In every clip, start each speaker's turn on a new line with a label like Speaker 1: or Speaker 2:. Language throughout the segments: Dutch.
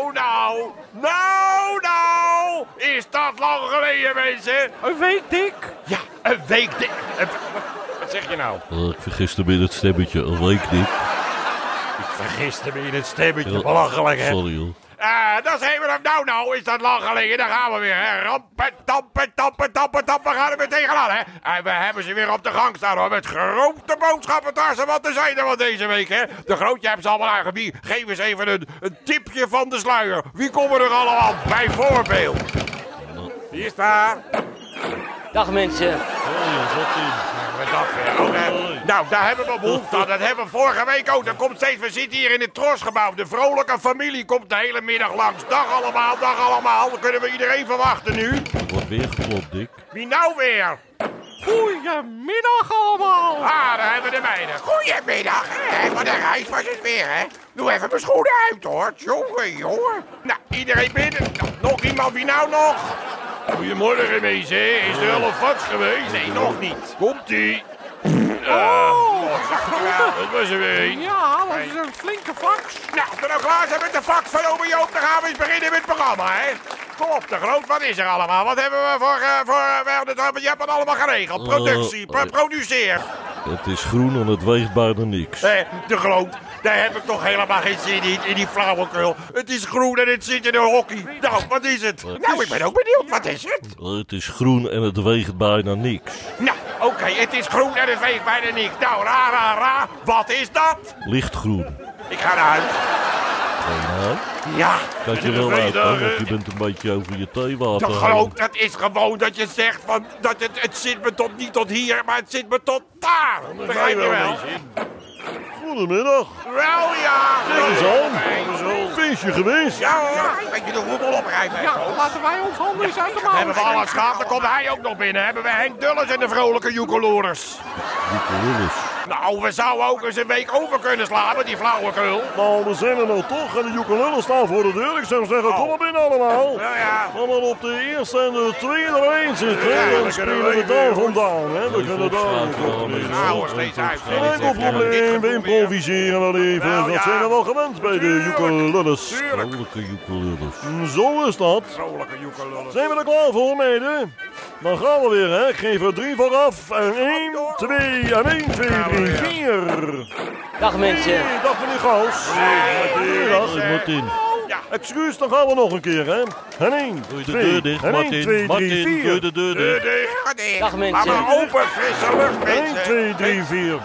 Speaker 1: nou, nou, nou, is dat lang geleden, mensen?
Speaker 2: Een week dik.
Speaker 1: Ja, een week dik. Een- Wat zeg je nou?
Speaker 3: Eh, ik vergiste me in het stemmetje. Een week dik.
Speaker 1: Ik vergiste me in het stemmetje,
Speaker 3: Ja.
Speaker 1: belachelijk, hè?
Speaker 3: Sorry hoor.
Speaker 1: Eh, dat is even een nou nou, is dat lang geleden. Daar gaan we weer. Hè. Rampen, tampen, tampen, tampen, tampen. We gaan er weer tegenaan. Hè. En we hebben ze weer op de gang staan hoor. Met grote boodschappen tarsen wat te zijn er wat deze week. Hè. De grootje hebben ze allemaal aangebied. Wie- Geef eens even een, een tipje van de sluier. Wie komen er allemaal? Bijvoorbeeld. Hier staat.
Speaker 4: Dag mensen.
Speaker 1: Met dat weer. Oh, eh, Nou, daar hebben we behoefte aan. Dat hebben we vorige week ook. Dat komt steeds. We zitten hier in het trosgebouw. De vrolijke familie komt de hele middag langs. Dag allemaal, dag allemaal. Dan kunnen we iedereen verwachten nu.
Speaker 3: Er wordt weer geklopt, Dick.
Speaker 1: Wie nou weer?
Speaker 2: Goedemiddag allemaal.
Speaker 1: Ah, daar hebben we de meiden. Goedemiddag. Hè, wat een Eh, reis was het weer, hè? Doe even mijn schoenen uit, hoor. Jongen, jongen. Nou, iedereen binnen. Nou, nog iemand, wie nou nog? Goedemorgen, wezen. Is er al een vats geweest? Nee, nog niet. Komt-ie. Oh, dat was er weer een.
Speaker 2: Ja, dat is een flinke fax.
Speaker 1: Nou, we nou klaar zijn met de vak van Ome Joop, dan gaan we eens beginnen met het programma, hè? Kom op, de groot, wat is er allemaal? Wat hebben we voor... eh, voor eh, we hebben het, je hebt het allemaal geregeld. Productie,
Speaker 3: Eh,
Speaker 1: pro- produceer.
Speaker 3: Het is groen en het weegt bijna niks.
Speaker 1: Hé, de groot, daar heb ik toch helemaal geen zin in, in die flauwekul. Het is groen en het zit in een hockey. Nou, wat is het? Nou, ik ben ook benieuwd, wat is het?
Speaker 3: Eh, Het is groen en het weegt bijna niks.
Speaker 1: Nou, oké, het is groen en het weegt bijna niks. Nou, ra, ra, ra, wat is dat?
Speaker 3: Lichtgroen.
Speaker 1: Ik ga naar huis.
Speaker 3: Nou,
Speaker 1: Ja.
Speaker 3: kijk je wel uit, hè, want je bent een beetje over je theewater.
Speaker 1: Dat
Speaker 3: heen.
Speaker 1: geloof, dat is gewoon dat je zegt van, dat het, het zit me tot niet tot hier, maar het zit me tot daar. Begrijp je wel?
Speaker 3: Goedemiddag.
Speaker 1: Wel ja.
Speaker 3: Feestje geweest.
Speaker 1: Ja hoor. Weet je de roebel oprijden?
Speaker 2: Ja, laten wij ons handen eens uit de mouwen
Speaker 1: Hebben we alles
Speaker 2: steken.
Speaker 1: gehad, dan komt hij ook nog binnen. Hebben we Henk Dulles en de vrolijke Joekelorers.
Speaker 3: Dikke Willis.
Speaker 1: Nou, we zouden ook eens een week over kunnen slaan met die flauwekul.
Speaker 3: Nou, we zijn er nou toch. En de joekelullen staan voor de deur. Ik zou zeggen, kom maar binnen allemaal.
Speaker 1: Nou ja.
Speaker 3: Gaan we op de eerste en de tweede rij zitten.
Speaker 1: dan
Speaker 3: dan
Speaker 1: kunnen
Speaker 3: spelen
Speaker 1: we
Speaker 3: we
Speaker 1: even,
Speaker 3: daar
Speaker 1: hoor.
Speaker 3: vandaan. Hè. We kunnen daar
Speaker 1: Nou, hoor, steeds uit.
Speaker 3: Geen
Speaker 1: eh,
Speaker 3: probleem, we improviseren wel even.
Speaker 1: Nou, ja.
Speaker 3: Dat zijn we wel gewend bij de
Speaker 1: Tuurlijk,
Speaker 3: joekelulles.
Speaker 1: tuurlijk.
Speaker 3: joekelulles. Zo is dat.
Speaker 1: Vrolijke Joekelorers.
Speaker 3: Zijn we er klaar voor, meiden? Dan gaan we weer, hè. Ik geef er drie vooraf. En één, twee, en één, twee,
Speaker 1: Gaan we
Speaker 3: drie,
Speaker 1: weer.
Speaker 3: vier.
Speaker 4: Dag mensen.
Speaker 3: Hey, dag meneer Gauws. Goedemiddag.
Speaker 1: Hey, Martin. Ja.
Speaker 3: Excuus, dan gaan we nog een keer, hè. En één,
Speaker 5: Doe je de
Speaker 3: twee,
Speaker 5: deur dicht,
Speaker 3: en één,
Speaker 5: Martin.
Speaker 3: twee, drie,
Speaker 5: Martin, doe je
Speaker 3: vier.
Speaker 5: de deur dicht.
Speaker 1: Deur dicht.
Speaker 4: Dag,
Speaker 1: Laat
Speaker 4: mensen.
Speaker 1: eh, maar open, frisse lucht,
Speaker 3: Eén,
Speaker 1: mensen.
Speaker 3: twee, drie, vier.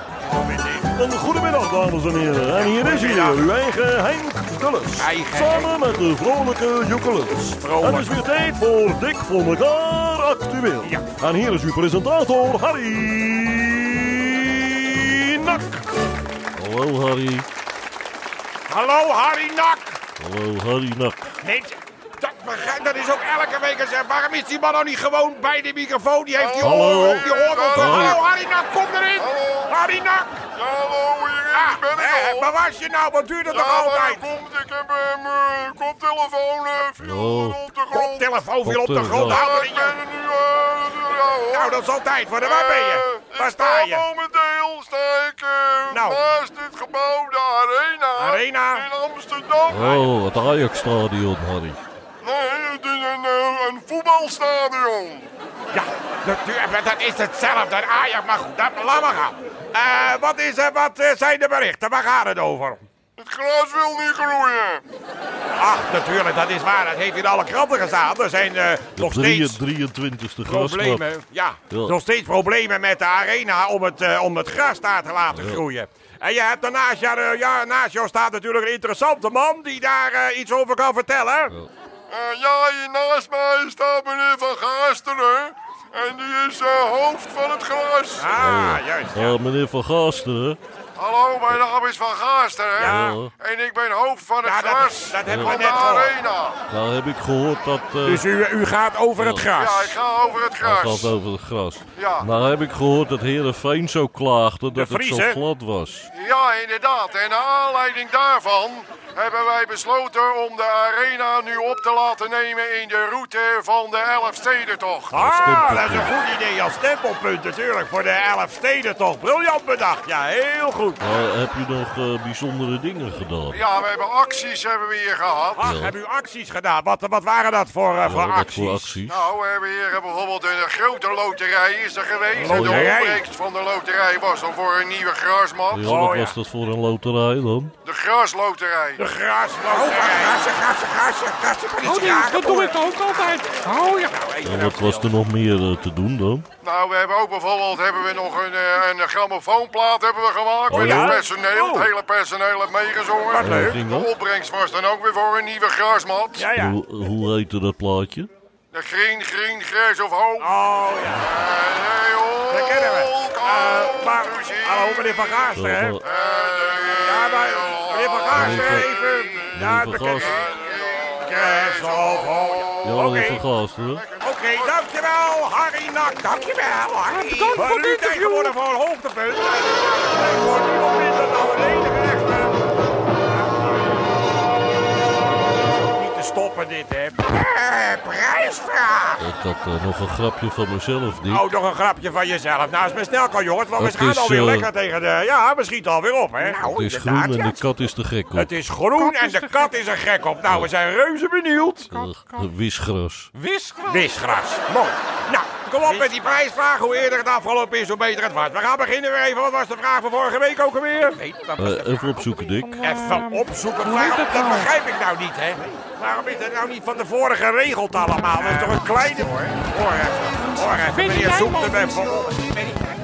Speaker 3: Een goedemiddag, dames en heren. En hier is hij, uw eigen Henk Dulles.
Speaker 1: Eigen
Speaker 3: Samen met de vrolijke Joekelus. En het is weer tijd voor Dik voor elkaar actueel.
Speaker 1: Ja.
Speaker 3: En hier is uw presentator, Harry Nak.
Speaker 5: Hallo Harry.
Speaker 1: Hallo, Harry Nak.
Speaker 5: Hallo Harry Nak.
Speaker 1: Nee, dat, begrijp- dat is ook elke week een zeg. Waarom is die man nou niet gewoon bij de microfoon? Die heeft die
Speaker 5: Hallo.
Speaker 1: oren, die oren toch?
Speaker 5: Hallo.
Speaker 1: Hallo, Harry Nak, kom erin! Harry Nak!
Speaker 6: Hallo, hier
Speaker 1: Ah,
Speaker 6: ben ik
Speaker 1: hè,
Speaker 6: al.
Speaker 1: maar waar is je nou? Wat duurt het
Speaker 6: Ja,
Speaker 1: toch
Speaker 6: maar
Speaker 1: altijd?
Speaker 6: hij komt, ik heb eh, mijn koptelefoon eh, viel
Speaker 5: Oh.
Speaker 6: op de grond.
Speaker 1: Koptelefoon viel op de grond.
Speaker 5: Koptelefoon.
Speaker 1: Hou
Speaker 6: Ja,
Speaker 1: er
Speaker 6: ik
Speaker 1: in je-
Speaker 6: ben er nu, eh, ja hoor.
Speaker 1: Nou, dat is altijd. Maar waar ben je?
Speaker 6: Eh,
Speaker 1: Waar
Speaker 6: ik
Speaker 1: sta je?
Speaker 6: momenteel sta ik eh,
Speaker 1: Nou.
Speaker 6: naast dit gebouw, de Arena,
Speaker 1: Arena?
Speaker 6: in Amsterdam.
Speaker 5: Oh, het Ajax-stadion, Harry.
Speaker 6: Nee, het is een, eh, een voetbalstadion.
Speaker 1: Ja, natuurlijk. maar Dat is hetzelfde. Een Ajax, maar goed, dat, laat maar gaan. Eh, wat, is, er? wat eh, zijn de berichten? Waar gaat het over?
Speaker 6: Het gras wil niet groeien.
Speaker 1: Ach, natuurlijk, dat is waar. Dat heeft in alle kranten gestaan. Er zijn eh, nog
Speaker 3: Drie-
Speaker 1: steeds...
Speaker 3: 23e grasknap.
Speaker 1: problemen. Ja,
Speaker 3: Ja.
Speaker 1: nog steeds problemen met de arena om het, eh, om het gras daar te laten groeien. En je hebt daarnaast jou, eh, ja, naast jou staat natuurlijk een interessante man die daar eh, iets over kan vertellen.
Speaker 6: Eh, ja, hier naast mij staat meneer Van Gaasteren. En die is eh, hoofd van het gras.
Speaker 1: Ah, juist. Ja.
Speaker 5: Oh,
Speaker 3: Ah, meneer Van Gaasteren.
Speaker 6: Hallo, mijn naam is Van Gaasteren.
Speaker 1: Ja.
Speaker 6: En ik ben hoofd van het
Speaker 1: Ja, dat-
Speaker 6: gras
Speaker 1: dat hebben we
Speaker 6: van
Speaker 1: net
Speaker 6: de
Speaker 1: gehoord.
Speaker 6: arena.
Speaker 3: Nou heb ik gehoord dat... eh,
Speaker 1: Dus u, u gaat over het
Speaker 6: Ja, ik
Speaker 1: gras.
Speaker 6: ga over
Speaker 3: het
Speaker 6: het gras.
Speaker 3: gaat over het gras.
Speaker 6: Ja.
Speaker 3: Nou heb ik gehoord dat Herenveen zo klaagde dat
Speaker 1: Vries,
Speaker 3: het zo
Speaker 1: hè?
Speaker 3: glad was.
Speaker 6: Ja, inderdaad. En naar aanleiding daarvan hebben wij besloten om de arena nu op te laten nemen in de route van de Elfstedentocht.
Speaker 1: Ah, dat is
Speaker 5: stempelpunt.
Speaker 1: een goed idee als stempelpunt natuurlijk. Voor de Elfstedentocht. Briljant bedacht. Ja, heel goed.
Speaker 5: Maar heb je nog eh, bijzondere dingen gedaan?
Speaker 6: Ja, we hebben acties hebben we hier gehad.
Speaker 1: Ach, Ah, hebben u acties gedaan? Wat, wat waren dat voor, eh, voor
Speaker 5: Ja, wat voor
Speaker 1: acties?
Speaker 5: acties?
Speaker 6: Nou, we hebben hier bijvoorbeeld een grote loterij is er geweest. En de
Speaker 1: Loterij?
Speaker 6: opbrengst van de loterij was dan voor een nieuwe grasmat.
Speaker 5: Ja, wat
Speaker 1: Oh, ja.
Speaker 5: was dat voor een loterij dan?
Speaker 6: De grasloterij.
Speaker 1: De Oh, grasloterij. Grassen, grassen, grassen, grassen.
Speaker 2: Oh, die, dat doe ik ook altijd. Oh ja.
Speaker 5: En wat was er nog meer eh, te doen dan?
Speaker 6: Nou, we hebben ook bijvoorbeeld hebben we nog een, eh, een grammofoonplaat hebben we gemaakt.
Speaker 5: Oh,
Speaker 6: met
Speaker 5: ja?
Speaker 6: het personeel.
Speaker 1: Oh.
Speaker 6: Het hele personeel heeft meegezongen.
Speaker 1: Wat leuk.
Speaker 5: ging
Speaker 6: De
Speaker 5: dat?
Speaker 6: opbrengst was dan ook weer voor een nieuwe grasmat.
Speaker 1: Ja, ja.
Speaker 5: Hoe, hoe heette dat plaatje?
Speaker 6: De green, green, gras of eh, hoop.
Speaker 1: Oh, ja. Dat kennen we. Eh, maar, hallo, meneer Van Gaarster, hè?
Speaker 5: Eh,
Speaker 1: Ja, maar, meneer Van Gaarster, even... Ja,
Speaker 5: Van
Speaker 1: bekend.
Speaker 5: Gaarster.
Speaker 1: Gras of hooi.
Speaker 5: Ja, dat
Speaker 1: oh, Oké.
Speaker 5: is een gast, hè?
Speaker 1: Oké, dankjewel, Harry Nak. Dankjewel, Harry.
Speaker 2: Bedankt voor
Speaker 1: Maar
Speaker 2: het
Speaker 1: nu
Speaker 2: interview.
Speaker 1: tegenwoordig voor een hoogtepunt. Ik word nu nog minder dan een enige echte. Niet te stoppen dit, hè. Eh, Prijsvraag.
Speaker 5: Ik had eh, nog een grapje van mezelf, Dick.
Speaker 1: Oh, nog een grapje van jezelf. Nou, is maar snel, kan jongens, want we
Speaker 5: Het
Speaker 1: gaan
Speaker 5: is,
Speaker 1: alweer
Speaker 5: eh, Nou,
Speaker 1: lekker tegen de... Ja, we schieten alweer op, hè.
Speaker 5: Het is groen en de kat is te gek op.
Speaker 1: Het is groen en de kat is er gek op. Nou, we zijn reuze benieuwd.
Speaker 5: Eh, Wisgras.
Speaker 2: Wiskra.
Speaker 1: Wisgras. Mooi. Nou, kom op met die prijsvraag. Hoe eerder het afgelopen is, hoe beter het wordt. We gaan beginnen weer even. Wat was de vraag van vorige week ook alweer? Weet niet, wat was de
Speaker 5: Eh, even opzoeken, Dick.
Speaker 1: Even opzoeken.
Speaker 2: Ehm, heet
Speaker 1: Waarom,
Speaker 2: het
Speaker 1: dat
Speaker 2: nou?
Speaker 1: begrijp ik nou niet, hè? Waarom is dat nou niet van de vorige regeld allemaal? Dat is toch een kleine...
Speaker 2: Ehm,
Speaker 1: Hoor, hoor even. Hoor even.
Speaker 2: Weet
Speaker 1: Meneer
Speaker 2: jij,
Speaker 1: zoekt
Speaker 2: man?
Speaker 1: hem even op.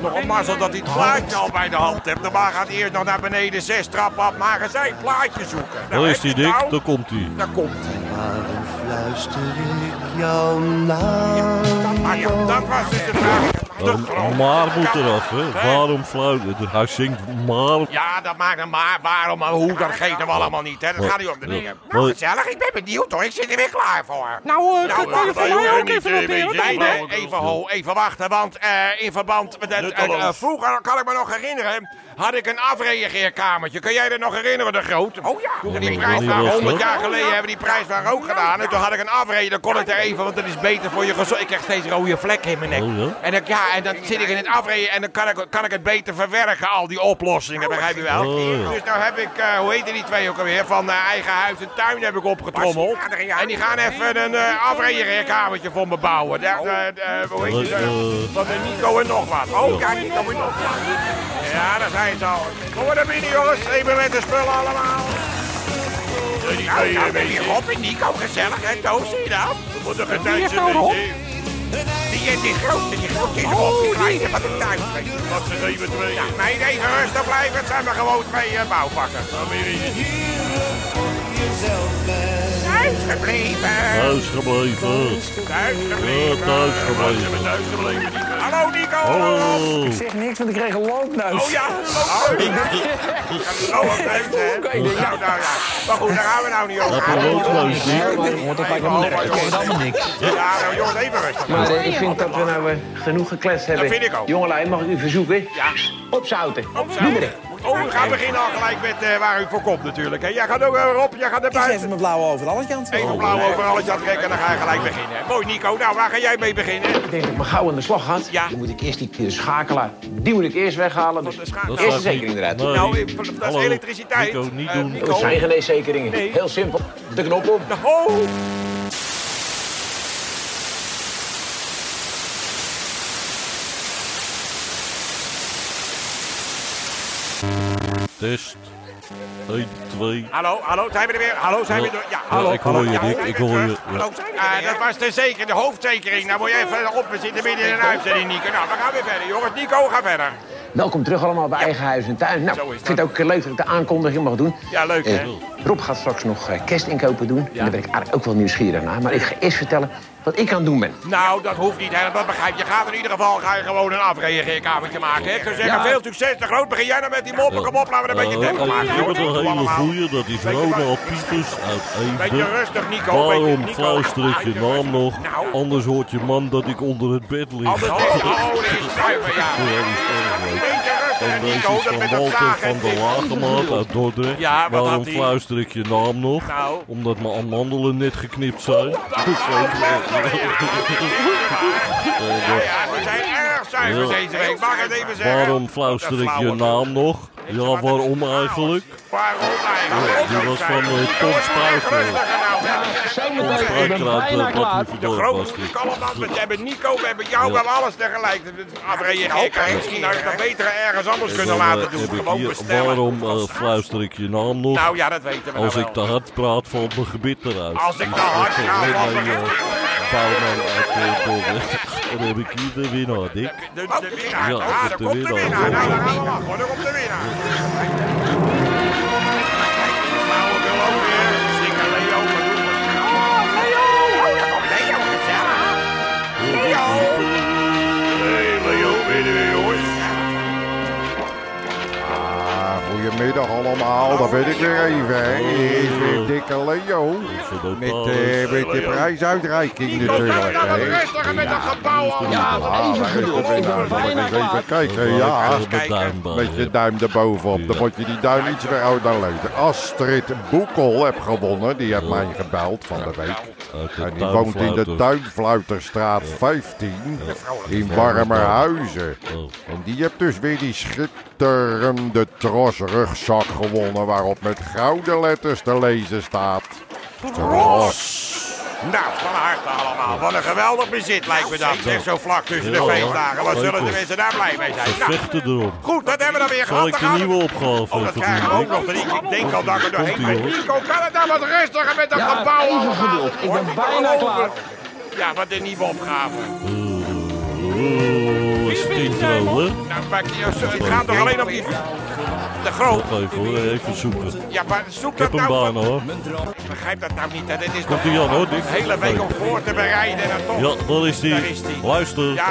Speaker 1: Nog een mazzel dat hij het plaatje al bij de hand hebt. Normaal gaat hij eerst nog naar beneden zes trappen op magazijn plaatje zoeken. Nou,
Speaker 5: Daar is
Speaker 1: heb
Speaker 5: die,
Speaker 1: je het
Speaker 5: Dick.
Speaker 1: nou?
Speaker 5: Daar komt hij.
Speaker 1: Daar komt hij.
Speaker 7: Waarom fluister ik jouw naam?
Speaker 1: Ah ja, dat was dus de vraag. De grote
Speaker 5: maar moet
Speaker 1: kat.
Speaker 5: eraf, hè? Waarom fluiten? Hij zingt maar.
Speaker 1: Ja, dat maakt hem maar. Waarom en hoe, dat geeft hem allemaal niet. Hè? Dat gaat niet om de dingen. Nou,
Speaker 5: Hoi.
Speaker 1: gezellig. Ik ben benieuwd hoor. Ik zit er weer klaar voor.
Speaker 2: Nou, eh, dat kan je
Speaker 1: wacht,
Speaker 2: voor
Speaker 1: wij
Speaker 2: mij
Speaker 1: hoeven
Speaker 2: ook
Speaker 1: niet,
Speaker 2: even
Speaker 1: eh,
Speaker 2: noteren.
Speaker 1: weet je,
Speaker 2: Dan, hè?
Speaker 1: nee, Even, ho, even wachten, want eh, in verband met het... eh, eh, vroeger, kan ik me nog herinneren, had ik een afreageerkamertje. Kun jij dat nog herinneren, de Groot? Oh ja. Die
Speaker 5: Ja,
Speaker 1: prijs
Speaker 5: die
Speaker 1: waar
Speaker 5: was
Speaker 1: 100
Speaker 5: leuk.
Speaker 1: jaar geleden hebben die prijs daar ook gedaan. En toen had ik een afreden, dan kon ik er even, want dat is beter voor je gezondheid. Ik krijg steeds rode vlekken in mijn nek.
Speaker 5: Oh, ja?
Speaker 1: En dan, ja, en dan zit ik in het afreden en dan kan ik, kan ik het beter verwerken, al die oplossingen, begrijp je wel?
Speaker 5: Oh, ja.
Speaker 1: Dus nou heb ik, eh, hoe heet die twee ook alweer, van eh, eigen huis en tuin heb ik opgetrommeld. En die gaan even een uh, afregeerkamertje voor me bouwen. Daar, eh, eh, hoe heet die, eh,
Speaker 5: Eh,
Speaker 1: Van de Nico en nog wat. Oh, ja, Nico en nog wat. Ja, daar zijn ze al. Kom maar naar binnen, jongens. Even met de spullen allemaal. Nou, nou ben je Rob en Nico gezellig, hè, Toos? Zie je dat? We moeten
Speaker 2: Wie is nou Rob?
Speaker 1: Die, eh, die grote, die grote is Rob. Oh, Die kleine van de tuin. Wat zijn even twee? Ja, nee, nee, rustig blijven. Het zijn maar gewoon twee eh, bouwvakkers. Thuis gebleven.
Speaker 5: Thuis gebleven.
Speaker 1: Thuis
Speaker 5: Ja,
Speaker 1: gebleven.
Speaker 5: thuis gebleven.
Speaker 1: Hallo, Nico. Rob.
Speaker 5: Hallo.
Speaker 1: Oh ja, oh, ik Oh, wat leuk, hè? Nou, nou, ja. Maar goed, daar gaan we nou niet
Speaker 5: Heb je
Speaker 1: over.
Speaker 5: roodkluis, Dick?
Speaker 8: Want dat lijkt me nergens. Niks.
Speaker 1: Ja, nou, jongens, even rustig.
Speaker 8: Maar eh, ik vind dat we nou eh, genoeg gekletst hebben.
Speaker 1: vind ik ook.
Speaker 8: Jongelui, mag ik u verzoeken?
Speaker 1: Ja.
Speaker 8: Opzouten.
Speaker 1: Opzouten. Oh, we gaan beginnen al gelijk met eh, waar u voor komt natuurlijk. hè. Jij gaat ook eh, Rob, jij gaat naar buiten.
Speaker 7: mijn blauwe overal, Jans.
Speaker 1: Even blauw over alles aan trekken en dan ga je gelijk beginnen. Mooi Nico, nou waar ga jij mee beginnen?
Speaker 8: Ik denk dat ik me gauw aan de slag had.
Speaker 1: Ja.
Speaker 8: Dan moet ik eerst die, die schakelaar, die moet ik eerst weghalen. Dus
Speaker 1: Dat is gaaf.
Speaker 8: eerst
Speaker 5: Dat
Speaker 8: de
Speaker 5: gaat
Speaker 8: zekering
Speaker 5: niet.
Speaker 8: eruit.
Speaker 5: Nee.
Speaker 1: Nou, eh, dat is
Speaker 5: Hallo.
Speaker 1: elektriciteit.
Speaker 5: Nico, niet
Speaker 1: Eh,
Speaker 5: doen.
Speaker 1: Nico.
Speaker 8: Dat zijn geen eens zekeringen.
Speaker 1: Nee.
Speaker 8: Heel simpel. De knop op.
Speaker 1: Oh!
Speaker 5: Test. 1, 2.
Speaker 1: Hallo, hallo, zijn we er weer? Hallo, zijn we er? Ja, hallo.
Speaker 5: ik hoor je,
Speaker 1: hallo.
Speaker 5: Dick,
Speaker 1: zijn
Speaker 5: ik
Speaker 1: we
Speaker 5: hoor je,
Speaker 1: terug?
Speaker 5: ja.
Speaker 1: Hallo, zijn we er weer? Eh, dat was de, zeker, de hoofdzekering. Nou moet je even op, we zitten midden in een uitzending, Nico. Nou, we gaan weer verder, jongens. Nico, ga verder.
Speaker 8: Welkom terug allemaal bij eigen huis en tuin.
Speaker 1: Zo
Speaker 8: Nou,
Speaker 1: is
Speaker 8: ik vind het ook eh, leuk dat ik de aankondiging mag doen.
Speaker 1: Ja, leuk,
Speaker 8: Eh,
Speaker 1: hè?
Speaker 8: Rob gaat straks nog eh, kerstinkopen doen. En daar ben ik eigenlijk ook wel nieuwsgierig naar. Maar ik ga eerst vertellen wat ik aan het doen ben.
Speaker 1: Nou, dat hoeft niet, hè. dat begrijp je. Gaat in ieder geval ga je gewoon een afreageerkamertje maken. Hè? Ik zou zeggen,
Speaker 8: Ja.
Speaker 1: veel succes, de groot. Begin jij nou met die moppen, kom op, laten we een
Speaker 3: Oh.
Speaker 1: beetje tempo
Speaker 5: Ik
Speaker 1: maken,
Speaker 5: heb
Speaker 1: jongens.
Speaker 5: het een
Speaker 1: Doe
Speaker 5: hele
Speaker 1: allemaal.
Speaker 5: goeie, dat is
Speaker 1: Weet je wat?
Speaker 5: Ronald Pieters uit
Speaker 1: Beetje
Speaker 5: Eemde.
Speaker 1: rustig, Nico. Beetje-
Speaker 5: Waarom
Speaker 1: Nico.
Speaker 5: fluister ik je
Speaker 1: Beetje
Speaker 5: naam
Speaker 1: rustig.
Speaker 5: nog?
Speaker 1: Nou,
Speaker 5: Anders hoort je man dat ik onder het bed lig.
Speaker 1: anders is oh, dit is schuiven, ja.
Speaker 5: Ja, dat is erg leuk.
Speaker 1: Beetje rustig, en Nico,
Speaker 3: Deze
Speaker 1: dat met
Speaker 3: is van
Speaker 1: dat
Speaker 3: Walter
Speaker 1: zagen
Speaker 3: van
Speaker 1: en
Speaker 3: der
Speaker 1: tikken.
Speaker 3: Lagemaat uit Dordrecht.
Speaker 1: Ja, wat
Speaker 3: Waarom
Speaker 1: had hij?
Speaker 3: fluister ik je naam nog?
Speaker 1: Nou. Oh,
Speaker 3: Omdat mijn amandelen net geknipt
Speaker 1: Ja,
Speaker 3: zijn.
Speaker 1: ja, we zijn erg zuiver
Speaker 3: Ja.
Speaker 1: deze week. Mag ik het even zeggen?
Speaker 3: Waarom fluister ik je
Speaker 1: Flauwe.
Speaker 3: naam nog? Ja, waarom eigenlijk?
Speaker 1: Waarom eigenlijk?
Speaker 3: Die was van eh, Tom Spruiter. Tom Spruiter uit eh, Bad
Speaker 1: De
Speaker 3: Lieverdorp was
Speaker 1: grote
Speaker 3: dit.
Speaker 1: kalman, we hebben Nico, we hebben jou, we hebben alles tegelijk. Dat- dat- Afreageer ik heb misschien nou dat betere ergens anders
Speaker 3: En
Speaker 1: kunnen
Speaker 3: dan
Speaker 1: laten
Speaker 3: eh,
Speaker 1: doen.
Speaker 3: heb ik
Speaker 1: Gewoon
Speaker 3: hier,
Speaker 1: bestellen.
Speaker 3: waarom eh, fluister ik je naam nog?
Speaker 1: Nou ja, dat weten we nou
Speaker 3: Als
Speaker 1: wel.
Speaker 3: ik te hard praat, valt mijn gebit eruit.
Speaker 1: Als ik te hard
Speaker 3: Dus, eh,
Speaker 1: praat,
Speaker 3: hoor
Speaker 1: valt
Speaker 3: mij,
Speaker 1: mijn
Speaker 3: eh, Bouwman uit eh, Dordrecht. Dan heb ik hier de winnaar, Dick.
Speaker 1: De, de, de winnaar,
Speaker 3: Ja,
Speaker 1: ah,
Speaker 3: dat
Speaker 1: daar
Speaker 3: de
Speaker 1: komt de
Speaker 3: winnaar.
Speaker 1: winnaar. Nou, daar gaan we af hoor, daar komt de winnaar. Kijk, die flauwekul ook weer. Stikker Leo, wat doen we? Oh, Leo! Oh, daar komt Leo, gezellig. Leo! Hey, Leo, ben je er weer, jongens?
Speaker 6: Ah, goedemiddag allemaal, daar ben ik weer even. hè. Hier is weer dikke Leo. Met, eh, met de prijsuitreiking natuurlijk.
Speaker 1: nou wat
Speaker 6: hè.
Speaker 1: rustiger met dat gebouw
Speaker 6: Ja, daar is het weer nou. Dan moet je eens even kijken, ja.
Speaker 3: eh,
Speaker 6: Met je duim erbovenop. Dan moet je die duim iets weer uit naar leuten. Astrid Boekel heb gewonnen. Die heeft mij gebeld van de week. En die woont in de Duinfluiterstraat 15. In Warmerhuizen. En die hebt dus weer die schitterende trosrugzak gewonnen. Waarop met gouden letters te lezen staat. Tros.
Speaker 1: Nou, van harte allemaal. Wat een geweldig bezit lijkt me dat. Zeg zo vlak tussen de
Speaker 3: Ja,
Speaker 1: feestdagen. Wat
Speaker 3: leuk,
Speaker 1: zullen de
Speaker 3: hoor.
Speaker 1: mensen daar blij mee zijn? Nou,
Speaker 3: Vechten erom.
Speaker 1: goed, dat hebben we dan weer
Speaker 3: Zal
Speaker 1: gehad.
Speaker 3: ik
Speaker 1: Dan
Speaker 3: de
Speaker 1: gaan we-
Speaker 3: nieuwe opgave
Speaker 1: Oh, dat krijgen we ook nog.
Speaker 3: verdienen?
Speaker 1: drie. Ik denk al dat ik er doorheen
Speaker 3: Komt-ie,
Speaker 1: ben.
Speaker 3: hoor.
Speaker 1: Nico, kan het nou wat rustiger met dat gebouw?
Speaker 8: even
Speaker 1: allemaal?
Speaker 8: geduld. Ik
Speaker 1: Hoor,
Speaker 8: ben
Speaker 1: kan
Speaker 8: bijna
Speaker 1: wel over.
Speaker 8: klaar.
Speaker 1: Ja, wat een nieuwe opgave.
Speaker 3: Oeh, is het intro, hè?
Speaker 1: Nou, pak je, het gaat toch alleen om die... De groot.
Speaker 3: Wacht even hoor, even zoeken.
Speaker 1: Ja, maar zoek
Speaker 3: Ik heb
Speaker 1: dat
Speaker 3: een
Speaker 1: nou...
Speaker 3: baan
Speaker 1: van-
Speaker 3: hoor.
Speaker 1: Ik begrijp dat nou niet. hè. Dit is
Speaker 3: Komt-ie aan, hoor,
Speaker 1: een
Speaker 3: Dick.
Speaker 1: hele week om voor te bereiden en dan toch...
Speaker 3: Ja, daar is
Speaker 1: Daar is
Speaker 3: die.
Speaker 1: die.
Speaker 3: Luister,
Speaker 1: Ja,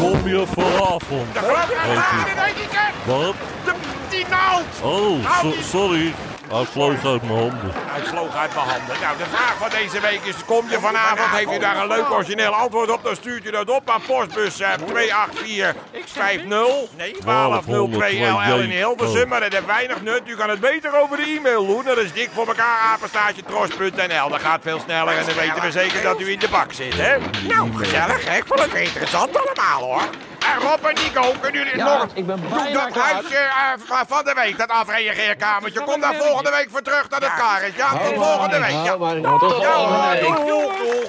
Speaker 3: kom je vanavond?
Speaker 1: de groot.
Speaker 3: Weet
Speaker 1: Ah,
Speaker 3: u.
Speaker 1: dit denk ik, hè.
Speaker 3: Wat?
Speaker 1: De- Die naald.
Speaker 3: Oh, so- sorry. Hij vloog uit mijn handen.
Speaker 1: Hij vloog uit mijn handen. Nou, de vraag van deze week is: kom je vanavond? Heeft u daar een leuk origineel antwoord op? Dan stuurt u dat op aan postbus eh, 284 50 nee, 1202 LL in Hilversum. Maar dat heeft weinig nut. U kan het beter over de e-mail doen. Dat is dik voor elkaar apenstaartje tros.nl. Dat gaat veel sneller en dan weten we zeker dat u in de bak zit, hè? Nou, gezellig, hè? Ik vond het interessant allemaal, hoor. En Rob en Nico, kunnen jullie
Speaker 8: Ja,
Speaker 1: nog...
Speaker 8: ik ben
Speaker 1: Doe
Speaker 8: bijna
Speaker 1: dat
Speaker 8: klaar.
Speaker 1: huisje eh, van de week, dat afreageerkamertje. Kom daar volgende week voor terug dat het klaar is. Ja, tot volgende week. Ja, Ja, doeg, doeg, doeg.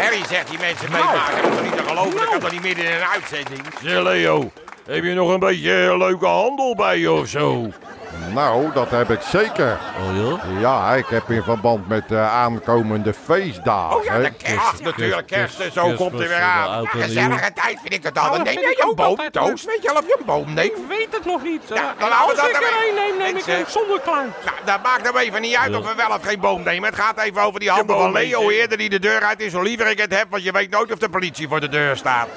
Speaker 1: Harry zegt die mensen meemaken. Dat is niet te geloven, dat kan toch niet midden in een uitzending.
Speaker 3: Zeg Leo, heb je nog een beetje eh, leuke handel bij je of zo?
Speaker 6: Nou, dat heb ik zeker.
Speaker 3: Oh ja?
Speaker 6: Ja, ik heb in verband met de aankomende feestdagen.
Speaker 1: Oh ja, de kerst natuurlijk, kerst en zo
Speaker 3: kerst,
Speaker 1: komt hij weer
Speaker 3: kerst,
Speaker 1: aan.
Speaker 3: oud
Speaker 1: Ja,
Speaker 3: en nieuw.
Speaker 1: gezellige tijd vind ik het altijd.
Speaker 2: dat
Speaker 1: Neem
Speaker 2: vind
Speaker 1: jij
Speaker 2: ik
Speaker 1: een
Speaker 2: ook altijd
Speaker 1: boomtoos?
Speaker 2: leuk.
Speaker 1: Weet je al of je een boom neemt?
Speaker 2: Ik weet het nog niet.
Speaker 1: Ja,
Speaker 2: Eh,
Speaker 1: dan houden
Speaker 2: als
Speaker 1: we
Speaker 2: ik
Speaker 1: dat
Speaker 2: er
Speaker 1: erbij.
Speaker 2: een neem, neem ik
Speaker 1: Mensen.
Speaker 2: een zonder klank.
Speaker 1: Nou, dat maakt hem even niet uit of we wel of geen boom nemen. Het gaat even over die handen
Speaker 2: boom
Speaker 1: van Leo. Hoe
Speaker 2: neemt.
Speaker 1: eerder die de deur uit is, hoe liever ik het heb. Want je weet nooit of de politie voor de deur staat.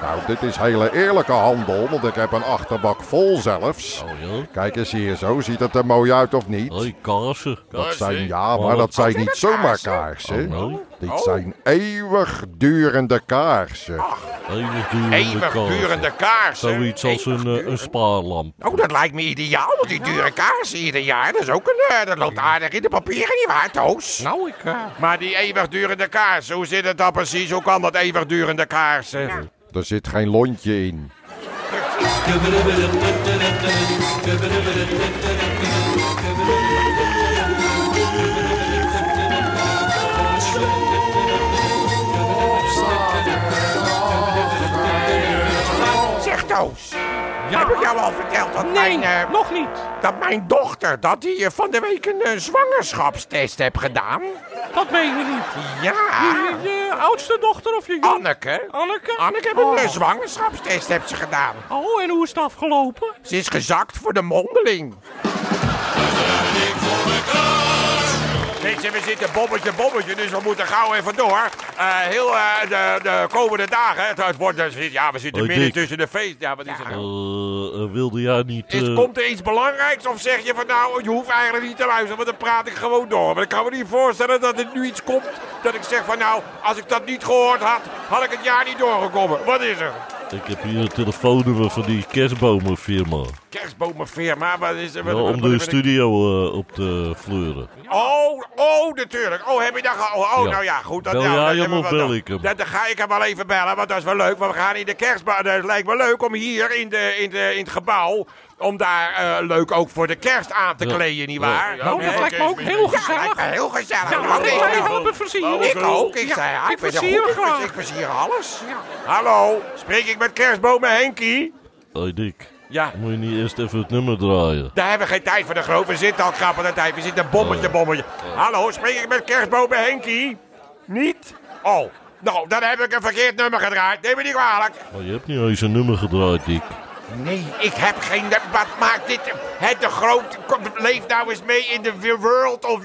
Speaker 6: Nou, dit is hele eerlijke handel, want ik heb een achterbak vol zelfs.
Speaker 3: Oh ja?
Speaker 6: Kijk eens hier zo, ziet het er mooi uit of niet?
Speaker 3: Hé, kaarsen.
Speaker 6: Dat zijn, ja,
Speaker 3: Maar
Speaker 6: maar
Speaker 3: wat-
Speaker 6: dat zijn
Speaker 1: zijn
Speaker 6: niet
Speaker 1: dat
Speaker 6: zomaar
Speaker 1: kaarsen?
Speaker 6: kaarsen.
Speaker 3: Oh, nee.
Speaker 6: Dit zijn eeuwigdurende kaarsen.
Speaker 1: Ah.
Speaker 3: Eeuwigdurende kaarsen.
Speaker 1: Eeuwigdurende kaarsen.
Speaker 3: Zoiets als een, eh, een spaarlamp.
Speaker 1: Oh, dat lijkt me ideaal, want die dure kaarsen ieder jaar, dat is ook een... eh, dat loopt aardig in de papieren, nietwaar, Toos?
Speaker 2: Nou, ik... eh,
Speaker 1: Maar die eeuwigdurende kaarsen, hoe zit het dan precies? Hoe kan dat eeuwigdurende kaarsen?
Speaker 6: Er zit geen lontje in.
Speaker 1: Zeg, Toos, heb ik jou al verteld dat,
Speaker 2: Nee,
Speaker 1: mijn, eh,
Speaker 2: nog niet.
Speaker 1: dat mijn dochter... dat die eh, van de week een eh, zwangerschapstest heeft gedaan?
Speaker 2: Dat meen je niet.
Speaker 5: Ah.
Speaker 1: Ja,
Speaker 2: Je, je oudste dochter of je jong-
Speaker 1: Anneke.
Speaker 2: Anneke?
Speaker 1: Anneke heeft een
Speaker 2: Oh.
Speaker 1: eh, zwangerschapstest heeft ze gedaan.
Speaker 2: Oh, en hoe is het afgelopen?
Speaker 1: Ze is gezakt voor de mondeling. Mensen, we zitten bobbetje, bobbetje, dus we moeten gauw even door. Eh, heel eh, de, de komende dagen, het, het wordt, dus- ja, we zitten
Speaker 3: Hoi,
Speaker 1: midden
Speaker 3: Dick.
Speaker 1: tussen de feest. Ja, wat is er
Speaker 3: Eh,
Speaker 1: nou?
Speaker 3: eh, wilde jij niet...
Speaker 1: Is,
Speaker 3: eh,
Speaker 1: komt er iets belangrijks of zeg je van nou, je hoeft eigenlijk niet te luisteren, want dan praat ik gewoon door. Want ik kan me niet voorstellen dat er nu iets komt dat ik zeg van nou, als ik dat niet gehoord had, had ik het jaar niet doorgekomen. Wat is er?
Speaker 3: Ik heb hier een telefoonnummer van die kerstbomenfirma.
Speaker 1: Kerstbomenfirma, wat is er?
Speaker 3: Ja,
Speaker 1: wat- wat-
Speaker 3: Nou, om
Speaker 1: wat-
Speaker 3: de
Speaker 1: wat-
Speaker 3: studio eh, op te fleuren.
Speaker 1: Oh, oh, natuurlijk. Oh, heb je dat ge- Oh, oh,
Speaker 3: Ja.
Speaker 1: nou ja, goed. Dat,
Speaker 3: Bel
Speaker 1: nou,
Speaker 3: jij
Speaker 1: dat
Speaker 3: hem
Speaker 1: hebben we
Speaker 3: of
Speaker 1: wel-
Speaker 3: bel ik hem?
Speaker 1: Dat, dan ga ik hem wel even bellen, want dat is wel leuk. Want we gaan in de kerstbaan. Het lijkt me leuk om hier in, de, in, de, in het gebouw... om daar eh, leuk ook voor de kerst aan te
Speaker 3: Ja.
Speaker 1: kleden, nietwaar?
Speaker 3: Ja.
Speaker 2: Nou, dat
Speaker 1: hè?
Speaker 2: lijkt me ook heel
Speaker 1: Ja,
Speaker 2: gezellig.
Speaker 1: lijkt me heel gezellig.
Speaker 2: Ja,
Speaker 1: Nou,
Speaker 2: mag ik
Speaker 1: ik-
Speaker 2: mij helpen versieren?
Speaker 1: Ik ook. Ik
Speaker 2: Ja,
Speaker 1: zei, ja, ik,
Speaker 2: ik
Speaker 1: ben er
Speaker 2: versier
Speaker 1: goed. Ik, vers-
Speaker 2: graag.
Speaker 1: ik versier alles. Hallo, spreek ik met kerstbomen Henkie?
Speaker 3: Hoi Dick,
Speaker 1: Ja.
Speaker 3: moet je niet eerst even het nummer draaien?
Speaker 1: Daar hebben we geen tijd voor de groep. We zitten al krap aan de tijd. We zitten bommetje, bommetje. Hallo, spreek ik met kerstbomen Henkie? Niet? Oh, nou, dan heb ik een verkeerd nummer gedraaid. Neem me niet kwalijk.
Speaker 3: Oh, je hebt niet eens een nummer gedraaid, Dick.
Speaker 1: Nee, ik heb geen... Wat maakt dit... Het de groot... Kom, Leef nou eens mee in de world of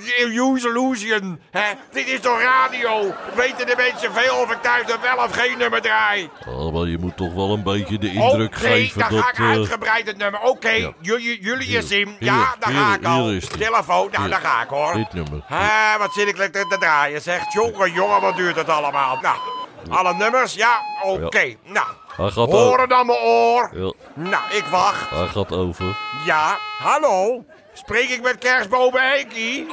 Speaker 1: illusion. hè? Dit is toch radio? Weten de mensen veel of ik thuis dan wel of geen nummer draai?
Speaker 3: Oh, maar je moet toch wel een beetje de indruk
Speaker 1: Oké,
Speaker 3: geven
Speaker 1: dan
Speaker 3: dat...
Speaker 1: ga ik
Speaker 3: eh,
Speaker 1: uitgebreid het nummer. Oké,
Speaker 3: ja.
Speaker 1: jullie, jullie
Speaker 3: Hier,
Speaker 1: is hem.
Speaker 3: hier,
Speaker 1: Ja, daar ga
Speaker 3: hier,
Speaker 1: ik al.
Speaker 3: hier is die.
Speaker 1: Telefoon, nou,
Speaker 3: Hier.
Speaker 1: daar ga ik hoor.
Speaker 3: Dit nummer.
Speaker 1: Hé, wat zit ik lekker te draaien, zegt. Jongen, jongen, wat duurt het allemaal? Nou, alle nummers? Ja, oké. Nou,
Speaker 3: Hij gaat
Speaker 1: horen dan mijn oor.
Speaker 3: Ja,
Speaker 1: Nou, ik wacht.
Speaker 3: hij gaat over.
Speaker 1: Ja, hallo? Spreek ik met kerstbomen Henkie?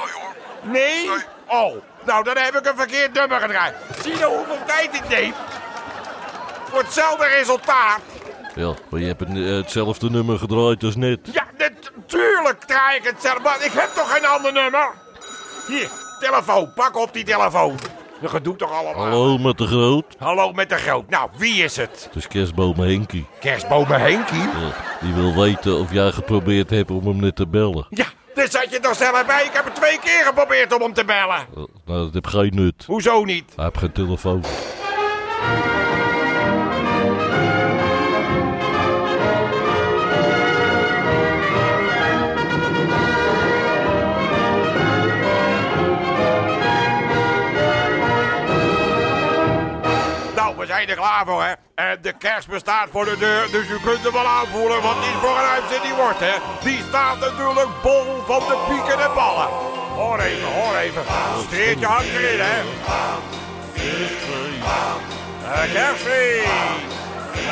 Speaker 1: Nee? Oh, nou dan heb ik een verkeerd nummer gedraaid. Zie je hoeveel tijd ik neem? Voor hetzelfde resultaat.
Speaker 3: Ja, maar je hebt een, eh, hetzelfde nummer gedraaid als net.
Speaker 1: Ja, natuurlijk draai ik het zelf. Maar ik heb toch geen ander nummer? Hier, telefoon. Pak op die telefoon. Dat gedoe toch allemaal.
Speaker 3: Hallo met de groot.
Speaker 1: Hallo met de groot. Nou, wie is het?
Speaker 3: Het is kerstboom Henkie.
Speaker 1: Kerstbomen Henkie?
Speaker 3: Ja, die wil weten of jij geprobeerd hebt om hem net te bellen.
Speaker 1: Ja, daar zat je toch zelf bij. Ik heb het twee keer geprobeerd om hem te bellen.
Speaker 3: Eh, nou, dat heeft geen nut.
Speaker 1: Hoezo niet?
Speaker 3: Hij heeft geen telefoon.
Speaker 1: Nou, we zijn er klaar voor, hè. En de kerst bestaat voor de deur, dus u kunt hem wel aanvoelen wat die voor een uitzending die wordt, hè. Die staat natuurlijk bol van de pieken en ballen. Hoor even, hoor even. Streertje hangt erin, hè. Eh, Kerstfeest.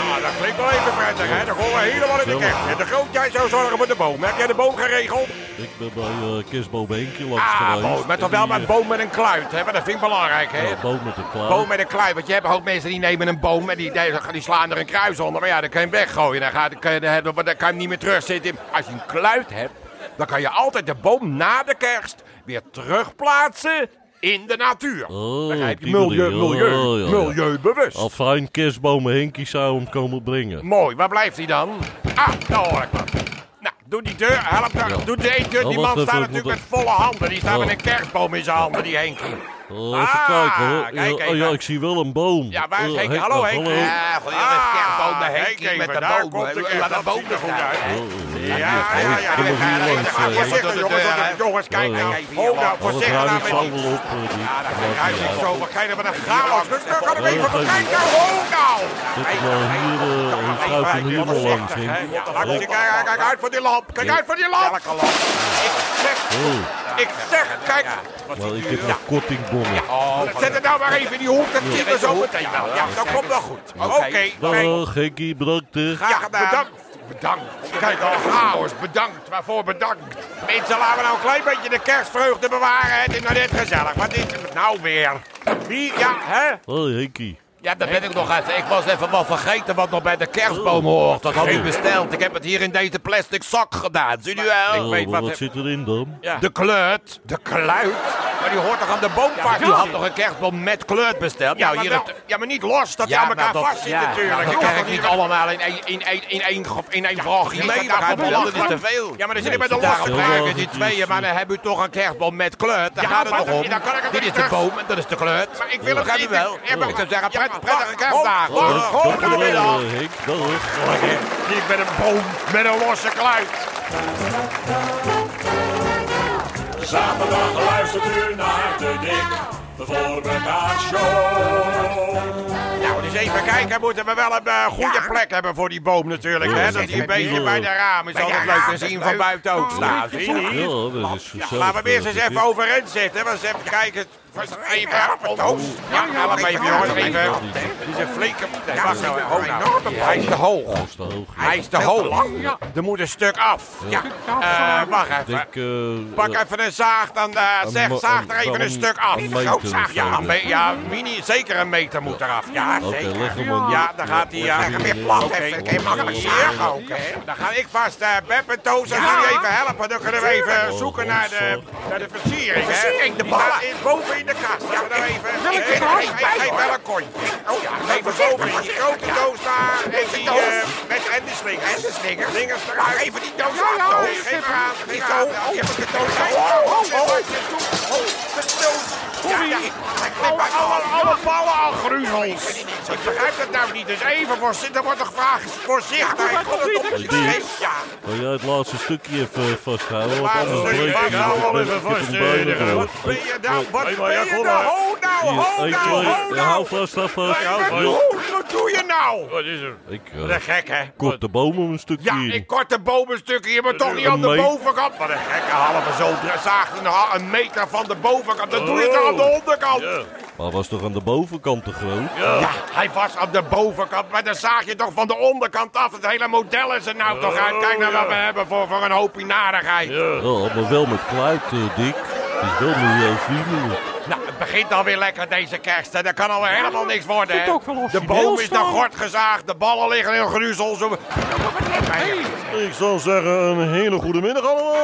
Speaker 1: Nou, dat klinkt wel even prettig, hè. Dan gaan we helemaal in de kerst. En de groot, jij zou zorgen voor de boom. Heb jij de boom geregeld?
Speaker 3: Ik ben bij eh, kerstboom Henkie langs
Speaker 1: Ah,
Speaker 3: geweest.
Speaker 1: boom. Met toch
Speaker 3: En
Speaker 1: wel
Speaker 3: die,
Speaker 1: met
Speaker 3: eh,
Speaker 1: boom met een kluit, hè. Maar dat vind ik belangrijk, hè.
Speaker 3: ja, boom met de klauw.
Speaker 1: Boom met een kluit, want je hebt ook mensen die nemen een boom en die, die, die slaan er een kruis onder. Maar ja, dan kan je hem weggooien, dan, gaat, dan, kan, je, dan heb- dan kan je hem niet meer terugzetten. Als je een kluit hebt, dan kan je altijd de boom na de kerst weer terugplaatsen in de natuur.
Speaker 3: Oh,
Speaker 1: Begrijp je?
Speaker 3: die bedoel je.
Speaker 1: Milieu, milieu,
Speaker 3: Oh, ja, ja.
Speaker 1: milieubewust.
Speaker 3: Al fijn kerstboom Henkie zou hem komen brengen.
Speaker 1: Mooi, waar blijft hij dan? Ah, daar hoor ik wat. Nou, doe die deur, help daar.
Speaker 3: Ja.
Speaker 1: Doe die deur.
Speaker 3: Oh,
Speaker 1: Die
Speaker 3: wacht
Speaker 1: man
Speaker 3: even,
Speaker 1: staat
Speaker 3: ik
Speaker 1: natuurlijk
Speaker 3: moet Oh.
Speaker 1: met volle handen. Die staat
Speaker 3: Ja.
Speaker 1: met een kerstboom in zijn handen, die Henkie.
Speaker 3: Oh, even
Speaker 1: Ah,
Speaker 3: kijken hoor. Ja,
Speaker 1: kijk
Speaker 3: oh, ja,
Speaker 1: even.
Speaker 3: ik zie wel een boom.
Speaker 1: Ja, waar is
Speaker 3: Eh,
Speaker 1: Henk? Hallo,
Speaker 3: eh,
Speaker 1: Henk.
Speaker 3: hallo.
Speaker 1: van
Speaker 5: Ah, Henk even,
Speaker 1: met de
Speaker 5: daar
Speaker 1: boom.
Speaker 5: komt de kerst.
Speaker 1: Laat de
Speaker 5: Dat
Speaker 1: boom
Speaker 5: ziet
Speaker 1: er
Speaker 5: er
Speaker 1: goed
Speaker 5: goed
Speaker 1: uit.
Speaker 3: Oh,
Speaker 1: Ja, ja, ja. ja,
Speaker 3: Kom
Speaker 1: ja,
Speaker 3: even hier
Speaker 1: ja, ja,
Speaker 3: langs,
Speaker 1: ja,
Speaker 3: eh, Henk.
Speaker 1: Voorzichtig, jongens.
Speaker 5: Ja,
Speaker 1: want- Jongens, kijk
Speaker 3: ja.
Speaker 1: nou. Oh, nou,
Speaker 3: Want
Speaker 1: voorzichtig.
Speaker 3: het ruikt
Speaker 1: nou,
Speaker 3: van
Speaker 1: met-
Speaker 3: wel op, eh, die.
Speaker 1: Ja, dat
Speaker 3: Ja,
Speaker 1: ruikt
Speaker 3: ja.
Speaker 1: niet zo. Wat ga je er met een chaos? Dus daar kan ik
Speaker 3: Ja,
Speaker 1: even
Speaker 3: dat geeft
Speaker 1: bekijken. Oh, nou.
Speaker 3: Dit is wel hier eh, een vrouw van hier wel langs, Oh, Henk.
Speaker 1: Ja, laat ik- Kijk kijk uit voor die lamp. Kijk uit voor die lamp. Ik zeg,
Speaker 3: Oh,
Speaker 1: ik zeg, kijk.
Speaker 3: nou, ik heb nog kortingbonnen.
Speaker 1: Zet het nou maar even in die hoek. Dat zit er zo meteen wel. Ja, dat komt wel goed. Oké, Henk.
Speaker 3: Dag Henkie, bedankt hè.
Speaker 1: Ja, bedankt. Bedankt. Kijk al, chaos. Bedankt. Waarvoor bedankt? Mensen, laten we nou een klein beetje de kerstvreugde bewaren. Het is nou net gezellig. Wat is het nou weer? Wie? Ja, hè?
Speaker 3: Hoi Oh, Henkie.
Speaker 5: Ja, daar ben ik nog even. Ik was even wel vergeten wat nog bij de kerstboom hoort. Dat had u besteld. Ik heb het hier in deze plastic zak gedaan. Zie u wel?
Speaker 3: Oh, maar wat zit erin dan?
Speaker 5: De kleurt.
Speaker 1: De kluit.
Speaker 5: Maar die hoort toch aan de boomvak? U had toch een kerstboom met kleurt besteld?
Speaker 1: Ja,
Speaker 5: Nou,
Speaker 1: maar,
Speaker 5: hier
Speaker 1: wel-
Speaker 5: het-
Speaker 1: ja, maar niet los. Dat die
Speaker 5: Ja,
Speaker 1: aan
Speaker 5: maar
Speaker 1: elkaar
Speaker 2: nou,
Speaker 5: dat-
Speaker 1: vastzit
Speaker 5: ja,
Speaker 1: natuurlijk.
Speaker 5: Dat
Speaker 1: Jongen,
Speaker 5: krijg ik
Speaker 1: die-
Speaker 5: niet allemaal in één- in één- in één ge- in één vraagje
Speaker 1: dat
Speaker 5: mee.
Speaker 1: gaat
Speaker 5: Dat
Speaker 1: wel
Speaker 5: dat is
Speaker 1: lachen.
Speaker 5: te veel.
Speaker 1: Ja, maar dan zit je
Speaker 3: Nee,
Speaker 1: met de
Speaker 3: dat is
Speaker 1: losse
Speaker 3: wel
Speaker 1: kluit.
Speaker 3: wel
Speaker 5: Kruiken die tweeën, maar dan heb u toch een kerstboom met kleurt. Daar
Speaker 1: Ja,
Speaker 5: gaat
Speaker 1: maar
Speaker 5: het toch
Speaker 1: dan-
Speaker 5: om.
Speaker 1: dan kan ik het
Speaker 5: Dit
Speaker 1: niet
Speaker 5: is de
Speaker 1: terug-
Speaker 5: boom en dat is de kleurt.
Speaker 1: Maar ik wil het
Speaker 5: Begrijp
Speaker 1: niet.
Speaker 5: u wel?
Speaker 1: Ja, maar-
Speaker 5: Ik zou zeggen,
Speaker 1: Ja,
Speaker 5: prettig,
Speaker 1: maar-
Speaker 5: prettige
Speaker 1: wacht,
Speaker 5: kerstdagen.
Speaker 1: wacht,
Speaker 5: Dag.
Speaker 1: wacht,
Speaker 3: Dank je wel
Speaker 1: goedemiddag.
Speaker 3: eh, Henk. Dag.
Speaker 1: Lekker. Niet met een boom, met een losse kluit.
Speaker 9: Zaterdag luistert u naar de dik. De voor elkaar show.
Speaker 1: Nou, dus even kijken, moeten we wel een eh, goede plek hebben voor die boom natuurlijk.
Speaker 3: Ja,
Speaker 1: hè? Dat
Speaker 3: zeker.
Speaker 1: die een beetje bij de ramen is altijd leuk te zien van buiten ook staan. Zie je niet?
Speaker 3: Ja, dat is gezellig.
Speaker 1: Laten we hem eerst
Speaker 3: dat
Speaker 1: eens
Speaker 3: is
Speaker 1: even
Speaker 3: dit.
Speaker 1: overeind zitten. We eens even kijken. even appeltoos. Ja, help even, jongens, even. Die is een flinke... Nee, wacht nou, ho nou. Hij is te hoog. Hij is te hoog. Er moet een stuk af. Ja, Eh, wacht even.
Speaker 3: Ik, eh,
Speaker 1: Pak even een zaag, dan eh,
Speaker 3: Een
Speaker 1: zeg,
Speaker 3: ma-
Speaker 1: zaag
Speaker 3: een-
Speaker 1: er even
Speaker 3: wel
Speaker 1: een stuk af.
Speaker 3: een
Speaker 1: Een
Speaker 3: meter
Speaker 1: groot zaag,
Speaker 3: of
Speaker 1: ja,
Speaker 3: zo,
Speaker 1: een
Speaker 3: ja.
Speaker 1: be- ja, mini, zeker een meter moet eraf. Ja,
Speaker 3: Oké,
Speaker 1: zeker.
Speaker 3: leg hem maar
Speaker 1: ja,
Speaker 3: neer.
Speaker 1: dan gaat hij...
Speaker 3: Leg
Speaker 1: Ja,
Speaker 3: hem
Speaker 1: weer
Speaker 3: neer.
Speaker 1: plat
Speaker 3: Oké,
Speaker 1: even,
Speaker 3: oké,
Speaker 1: geen makkelijk
Speaker 3: oké.
Speaker 1: zagen ook, hè. Dan ga ik vast eh Beb en Toos, dan gaan jullie even helpen. Dan kunnen we even zoeken naar de, naar de versiering, hè.
Speaker 5: versiering, de
Speaker 1: Die staat
Speaker 5: ballen.
Speaker 1: in- boven in de kast. Ja, dan even...
Speaker 5: welke
Speaker 1: eh,
Speaker 5: kast?
Speaker 1: geef- geef- Geef wel een kontje. Oh ja, even boven in die grote doos daar. En die... eh, Met en de slingers. En de slingers. Slingers eruit. Even die doos
Speaker 5: Ja, ja,
Speaker 1: Toos.
Speaker 5: ik
Speaker 1: Geef
Speaker 5: heb
Speaker 1: maar aan.
Speaker 5: hem.
Speaker 1: Geef
Speaker 5: Ik
Speaker 1: maar aan.
Speaker 5: doos.
Speaker 1: Hier heb ik de doos. Oh, oh, oh. Oh, de doos. Ja, ja. Alle, Oh, alle, alle ballen al gruzels. Ik begrijp dat nou niet. Dus even voorzichtig. Er wordt nog vraag voorzichtig. Ik kon het op
Speaker 3: Die-
Speaker 1: Ja.
Speaker 3: eh, Wil jij het laatste stukje even vasthouden? Want
Speaker 1: Maar
Speaker 3: anders
Speaker 1: sorry,
Speaker 3: breek ik
Speaker 1: maar
Speaker 3: het.
Speaker 1: nou wel
Speaker 3: Ik
Speaker 1: even
Speaker 3: heb hem
Speaker 1: vast,
Speaker 3: bijna
Speaker 1: eh,
Speaker 3: gehoord.
Speaker 1: Wat ben je nou? Wat ben
Speaker 3: maar ja,
Speaker 1: je
Speaker 3: kom
Speaker 1: nou?
Speaker 3: maar.
Speaker 1: Ho nou, ho
Speaker 3: Hier, één,
Speaker 1: nou,
Speaker 3: twee.
Speaker 1: ho
Speaker 3: Ja, Hou
Speaker 1: nou.
Speaker 3: vast, hou vast.
Speaker 1: Hey, Wat
Speaker 3: Hou vast.
Speaker 1: doe- wat doe je nou?
Speaker 9: Wat is er?
Speaker 3: Ik eh,
Speaker 1: Wat een gek, hè?
Speaker 3: kort de boom om een stukje
Speaker 1: Ja,
Speaker 3: in.
Speaker 1: ik kort de bomenstukken hier, maar toch niet
Speaker 3: Een
Speaker 1: aan de
Speaker 3: meter.
Speaker 1: bovenkant. Wat een gekke halve zo. Zaagt een, ha- een meter van de bovenkant. Dat doe je toch aan de onderkant?
Speaker 3: Maar was toch aan de bovenkant te groot?
Speaker 1: Ja, hij was aan de bovenkant, maar dan zaag je toch van de onderkant af. Het hele model is er nou toch uit. Kijk nou wat we hebben voor, voor een hoopie narigheid.
Speaker 3: Ja, maar Oh, wel met kluit, eh, Dick. Het is wel milieuvriendelijk.
Speaker 1: Nou, het begint alweer lekker deze kerst. En dat kan alweer helemaal niks worden, hè?
Speaker 2: Zit ook wel los.
Speaker 1: eh, De
Speaker 2: Die
Speaker 1: boom
Speaker 2: beeld
Speaker 1: is
Speaker 2: staan.
Speaker 1: naar gort gezaagd, de ballen liggen in gruzel. Zo...
Speaker 3: Ik zou zeggen, een hele goede middag allemaal.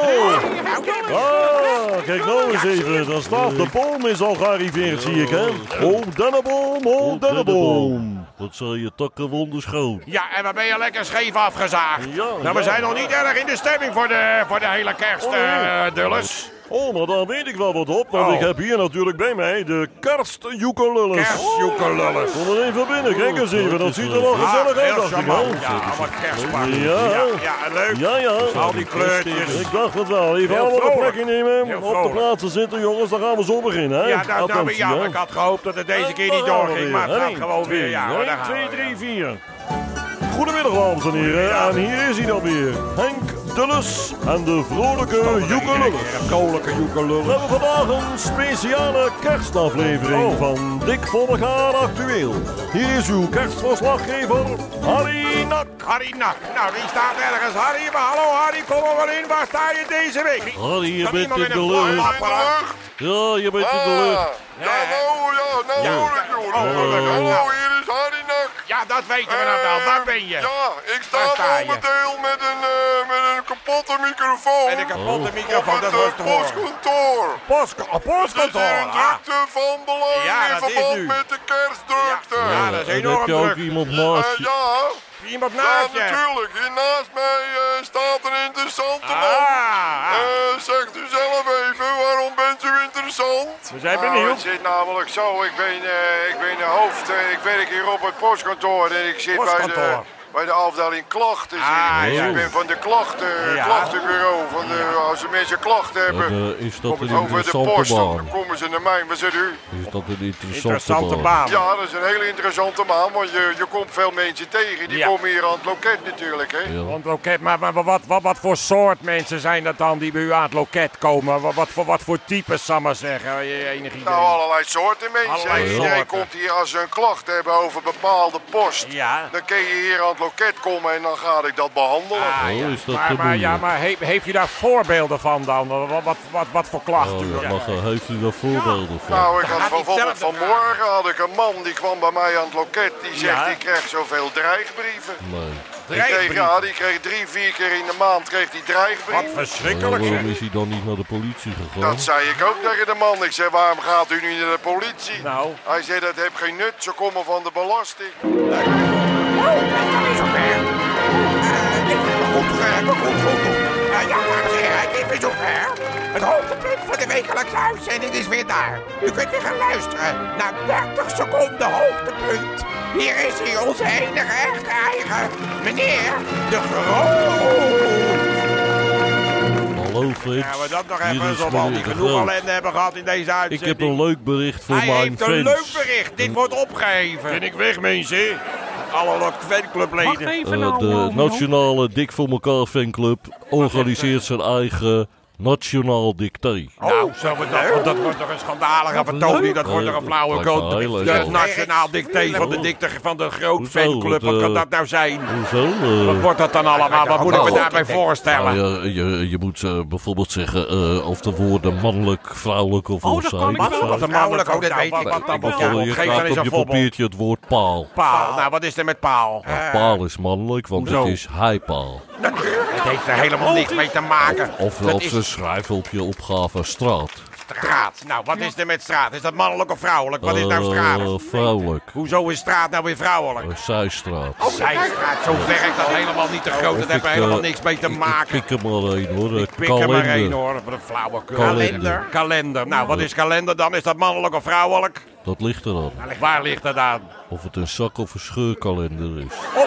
Speaker 3: Ah, kijk nou eens even. Dan staat de boom is al gearriveerd, zie ik, hè. Oh, dennenboom, oh, dennenboom. Wat zijn je takken wonderschoon.
Speaker 1: Ja, en we ben je lekker scheef afgezaagd.
Speaker 3: Ja,
Speaker 1: nou,
Speaker 3: ja.
Speaker 1: we zijn nog niet erg in de stemming voor de, voor de hele kerst,
Speaker 3: Oh, nee.
Speaker 1: eh, Dulles.
Speaker 3: Oh, maar dan weet ik wel wat op, want
Speaker 1: Oh.
Speaker 3: ik heb hier natuurlijk bij mij de kerstjoekelulles.
Speaker 1: Kerstjoekelulles.
Speaker 3: Kom er even binnen, kijk eens even, dat ziet er Oh. wel
Speaker 1: Ah,
Speaker 3: gezellig uit,
Speaker 1: heel
Speaker 3: dacht ik
Speaker 1: charmant.
Speaker 3: wel.
Speaker 1: Ja, allemaal kerstpakken.
Speaker 3: Ja.
Speaker 1: ja, ja, leuk.
Speaker 3: Ja, ja.
Speaker 1: Al die kleurtjes.
Speaker 3: Ik dacht het wel. Even
Speaker 1: Heel
Speaker 3: allemaal een
Speaker 1: vrolijk.
Speaker 3: plekje nemen.
Speaker 1: Heel
Speaker 3: Op de
Speaker 1: vrolijk.
Speaker 3: plaatsen zitten, jongens. Dan gaan we zo beginnen, hè?
Speaker 1: Ja, nou, nou,
Speaker 3: Attentie,
Speaker 1: ja,
Speaker 3: hè.
Speaker 1: ik had gehoopt dat het deze keer
Speaker 3: Daar
Speaker 1: niet
Speaker 3: gaan we
Speaker 1: doorging,
Speaker 3: weer.
Speaker 1: maar het gaat
Speaker 3: Eén,
Speaker 1: gewoon weer.
Speaker 3: twee,
Speaker 1: Ja, hoor, daar
Speaker 3: 1,
Speaker 1: gaan
Speaker 3: 2,
Speaker 1: we,
Speaker 3: 3, 4. Goedemiddag, dames en heren. En hier is hij dan weer. Henk Dulles en de vrolijke Joekelullen.
Speaker 1: Koninklijke
Speaker 3: We hebben vandaag een speciale kerstaflevering
Speaker 1: Oh.
Speaker 3: van Dick Vollegaar Actueel. Hier is uw kerstverslaggever, Harry Nak.
Speaker 1: Harry Nak. Nou, die staat ergens. Harry, maar hallo Harry, kom er wel in. Waar sta je deze week?
Speaker 3: Harry, je
Speaker 1: Kan
Speaker 3: bent
Speaker 1: iemand
Speaker 3: in
Speaker 1: met
Speaker 3: de
Speaker 1: een
Speaker 3: lucht.
Speaker 1: vlag?
Speaker 6: In de lucht.
Speaker 3: Ja, je bent in de
Speaker 6: Ah,
Speaker 3: lucht.
Speaker 6: ja, nou, ja, nou
Speaker 1: Ja.
Speaker 6: hoor ik je. hoor.
Speaker 1: Oh, leuk.
Speaker 6: Hallo, hier is Harry Nak.
Speaker 1: Ja, dat weten we nou wel.
Speaker 6: Ehm,
Speaker 1: Waar ben je?
Speaker 6: Ja,
Speaker 1: Waar
Speaker 6: ik sta
Speaker 1: sta je?
Speaker 6: momenteel met een, eh, met een kapotte microfoon
Speaker 1: Met een kapotte
Speaker 6: op
Speaker 1: microfoon,
Speaker 6: het
Speaker 1: dat
Speaker 6: eh,
Speaker 1: wordt te horen.
Speaker 6: postkantoor.
Speaker 1: Postko- oh,
Speaker 6: Het is
Speaker 1: Postkantoor,
Speaker 6: hier een
Speaker 1: ah.
Speaker 6: drukte van belang
Speaker 1: Ja,
Speaker 6: in
Speaker 1: dat is
Speaker 6: verband
Speaker 1: nu.
Speaker 6: met de kerstdrukte.
Speaker 1: Ja, ja, dat is
Speaker 3: En
Speaker 1: enorm
Speaker 3: heb je ook
Speaker 1: druk.
Speaker 3: iemand
Speaker 6: Eh,
Speaker 3: naast je?
Speaker 6: ja,
Speaker 1: Iemand
Speaker 6: ja,
Speaker 1: naast je.
Speaker 6: natuurlijk. Hier naast mij eh, staat een interessante
Speaker 1: Ah,
Speaker 6: man.
Speaker 1: ah.
Speaker 6: Eh, zegt u zelf even, waarom bent u interessant? We zijn benieuwd. het Nou, zit namelijk zo, ik ben, eh, ik ben de hoofd, eh, ik werk hier op het postkantoor en ik zit bij de,
Speaker 1: Postkantoor.
Speaker 6: bij de afdeling klachten. zit
Speaker 1: Ah,
Speaker 6: ik. Dus
Speaker 1: ja.
Speaker 6: ik ben van de klachten,
Speaker 1: Ja.
Speaker 6: klachtenbureau, van de, als de mensen klachten hebben.
Speaker 3: En, eh, is dat
Speaker 6: komen
Speaker 3: een
Speaker 6: ze over de post,
Speaker 3: interessante
Speaker 6: dan
Speaker 3: baan?
Speaker 6: komen ze naar mij. Wat zegt u?
Speaker 3: Is dat een interessante,
Speaker 1: Interessante
Speaker 3: baan?
Speaker 1: baan.
Speaker 6: Ja, dat is een hele interessante man, want je, je komt veel mensen tegen. Die
Speaker 1: Ja.
Speaker 6: komen hier aan het loket natuurlijk, hè?
Speaker 3: Ja.
Speaker 1: Want loket, maar, maar wat, wat, wat voor soort mensen zijn dat dan die bij u aan het loket komen? Wat, wat, voor, wat voor types, zal maar zeggen? Je- Enig idee.
Speaker 6: Nou, allerlei soorten mensen.
Speaker 1: Allerlei
Speaker 6: Iedereen
Speaker 1: soorten.
Speaker 6: komt hier als ze een klacht hebben over bepaalde post.
Speaker 1: Ja.
Speaker 6: Dan kun je hier aan het loket komen en dan ga ik dat behandelen.
Speaker 1: Ah,
Speaker 3: Oh,
Speaker 1: ja.
Speaker 3: is dat
Speaker 1: maar,
Speaker 3: te
Speaker 1: maar, ja,
Speaker 3: moeilijk?
Speaker 1: maar he- heeft u daar voorbeelden van dan? Wat, wat, wat, wat voor klachten?
Speaker 3: Oh,
Speaker 1: u?
Speaker 3: ja, mag, eh, heeft u daar voorbeelden van?
Speaker 6: Nou, ik had
Speaker 1: gaat hij zelf
Speaker 6: bijvoorbeeld
Speaker 1: de
Speaker 6: vanmorgen had ik een man die kwam bij mij aan het loket. Die zegt,
Speaker 1: Ja.
Speaker 6: ik krijg zoveel dreigbrieven.
Speaker 3: nee.
Speaker 6: Die kreeg, ja, die kreeg drie, vier keer in de maand kreeg die
Speaker 1: Wat
Speaker 6: dreigbrieven.
Speaker 1: verschrikkelijk
Speaker 3: Waarom
Speaker 1: zeg.
Speaker 3: is hij dan niet naar de politie gegaan?
Speaker 6: Dat zei ik ook tegen de man. Ik zei, waarom gaat u niet naar de politie?
Speaker 1: Nou.
Speaker 6: Hij zei, dat heeft geen nut. Ze komen van de belasting.
Speaker 5: Het hoogtepunt van de wekelijkse uitzending is weer daar. U kunt weer gaan luisteren naar 30 seconden hoogtepunt. Hier is hij, onze enige echte eigen, meneer de Groot.
Speaker 3: Hallo Frits,
Speaker 1: Ja, maar dat nog
Speaker 3: hier
Speaker 1: even,
Speaker 3: is
Speaker 1: zodat we al
Speaker 3: meneer
Speaker 1: die
Speaker 3: de
Speaker 1: genoeg
Speaker 3: Groot.
Speaker 1: ellende hebben gehad in deze
Speaker 3: Ik
Speaker 1: uitzending.
Speaker 3: heb een leuk bericht voor
Speaker 1: Hij
Speaker 3: mijn
Speaker 1: heeft een leuk
Speaker 3: fans.
Speaker 1: bericht. Dit wordt opgeheven. Ben ik weg, mensen? Alle Lok
Speaker 2: Wacht
Speaker 1: fanclubleden.
Speaker 2: even
Speaker 3: Eh,
Speaker 2: nou.
Speaker 3: de
Speaker 2: nou, nou.
Speaker 3: nationale Dik voor elkaar fanclub organiseert zijn eigen Nationaal dicté.
Speaker 1: Nou, zullen we dat, want dat wordt toch een schandalige vertoning. Dat wordt toch een flauwekul.
Speaker 3: Lijkt me heel leuk.
Speaker 1: Het nationaal dicté van de dikte van de groot
Speaker 3: Hoezo?
Speaker 1: fanclub.
Speaker 3: Wat,
Speaker 1: Wat kan
Speaker 3: eh,
Speaker 1: dat nou zijn?
Speaker 3: Hoezo? eh?
Speaker 1: Wat wordt dat dan allemaal? Wat moet ik me daarbij voorstellen?
Speaker 3: Nou, je, je, je moet eh, bijvoorbeeld zeggen eh, of de woorden mannelijk, vrouwelijk of
Speaker 1: Oh, dat kan ik wel.
Speaker 3: zijn.
Speaker 1: Wat een mannelijk, oh, dat weet ik. Wat dan
Speaker 3: Of, eh,
Speaker 1: bijvoorbeeld?
Speaker 3: je
Speaker 1: Geef dan
Speaker 3: krijgt
Speaker 1: eens
Speaker 3: op
Speaker 1: een
Speaker 3: je
Speaker 1: voorbeeld.
Speaker 3: papiertje het woord paal.
Speaker 1: Paal. Nou, wat is er met paal?
Speaker 3: Paal is mannelijk, want
Speaker 1: Hoezo?
Speaker 3: het is hijpaal.
Speaker 1: Het heeft er helemaal niks mee te maken.
Speaker 3: Of
Speaker 1: Dat
Speaker 3: op
Speaker 1: is
Speaker 3: ze schrijven op je opgave straat.
Speaker 1: straat. Nou, wat is er met straat? Is dat mannelijk of vrouwelijk? Wat is nou straat?
Speaker 3: Eh, vrouwelijk,
Speaker 1: Hoezo is straat nou weer vrouwelijk?
Speaker 3: eh, zijstraat.
Speaker 1: Zijstraat, zo werkt dat helemaal niet te groot. Oh, Dat
Speaker 3: Of
Speaker 1: heeft er
Speaker 3: ik,
Speaker 1: helemaal
Speaker 3: eh,
Speaker 1: niks mee te
Speaker 3: ik-
Speaker 1: maken.
Speaker 3: Ik pik er maar één hoor. Eh, Ik
Speaker 1: Pik er maar één hoor, wat een flauwekul.
Speaker 3: Kalender. Kalender.
Speaker 1: Kalender. Nou, wat is kalender dan? Is dat mannelijk of vrouwelijk?
Speaker 3: Dat ligt er aan.
Speaker 1: Waar ligt dat aan?
Speaker 3: Of het een zak of een scheurkalender is. Eh,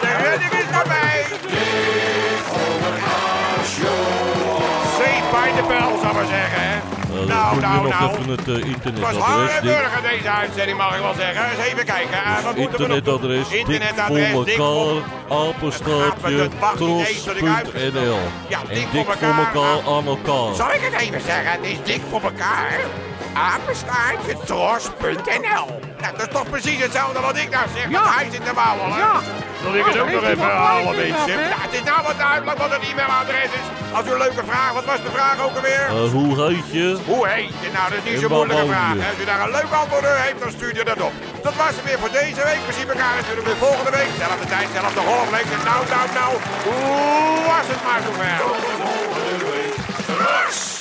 Speaker 1: De redding is nabij! Safe bij de bel, zou ik maar zeggen. hè.
Speaker 3: Eh,
Speaker 1: nou,
Speaker 3: moet je
Speaker 1: nou,
Speaker 3: nog
Speaker 1: nou.
Speaker 3: even het eh,
Speaker 1: Het was
Speaker 3: internetadres.
Speaker 1: harde
Speaker 3: Dick.
Speaker 1: burger deze uitzending, mag ik wel zeggen. Eens even kijken. eh, wat moeten we nog doen?
Speaker 3: Internetadres
Speaker 1: Internetadres,
Speaker 3: Dik
Speaker 1: Dick
Speaker 3: voor
Speaker 1: voor-
Speaker 3: elkaar,
Speaker 1: Het gaat me,
Speaker 3: apenstaartje,
Speaker 1: dat mag niet eens dat ik uitgesproken-
Speaker 3: tros.nl.
Speaker 1: Ja, Dik
Speaker 3: En Dik
Speaker 1: voor
Speaker 3: voor
Speaker 1: elkaar,
Speaker 3: elkaar aan
Speaker 1: Zal
Speaker 2: Oh.
Speaker 3: elkaar.
Speaker 1: ik het even zeggen? Het is dik voor elkaar. Apenstaartje tros.nl. Nou, dat is toch precies hetzelfde wat ik nou zeg. Want hij zit te wauwelen.
Speaker 2: Ja.
Speaker 1: Zal ik het
Speaker 2: Nou,
Speaker 1: ook
Speaker 2: heeft
Speaker 1: nog
Speaker 2: u
Speaker 1: even
Speaker 2: nog
Speaker 1: halen,
Speaker 2: gelijk in
Speaker 1: mensen?
Speaker 2: dat, hè?
Speaker 1: Ja, het is nou wat duidelijk wat een e-mailadres is. Als u een leuke vraag, wat was de vraag ook alweer?
Speaker 2: Oh.
Speaker 3: Eh, hoe heet je?
Speaker 1: Hoe heet je? Nou, dat is niet
Speaker 3: En
Speaker 1: zo'n
Speaker 3: waar
Speaker 1: moeilijke
Speaker 3: woon
Speaker 1: vraag.
Speaker 3: je?
Speaker 1: hè. Als u daar een leuk antwoord op heeft, dan stuur je dat op. Dat was het weer voor deze week. We zien elkaar natuurlijk weer volgende week. Zelfde tijd, zelfde golfweek. En nou, nou, nou. Hoe was het maar zover?
Speaker 9: Rust!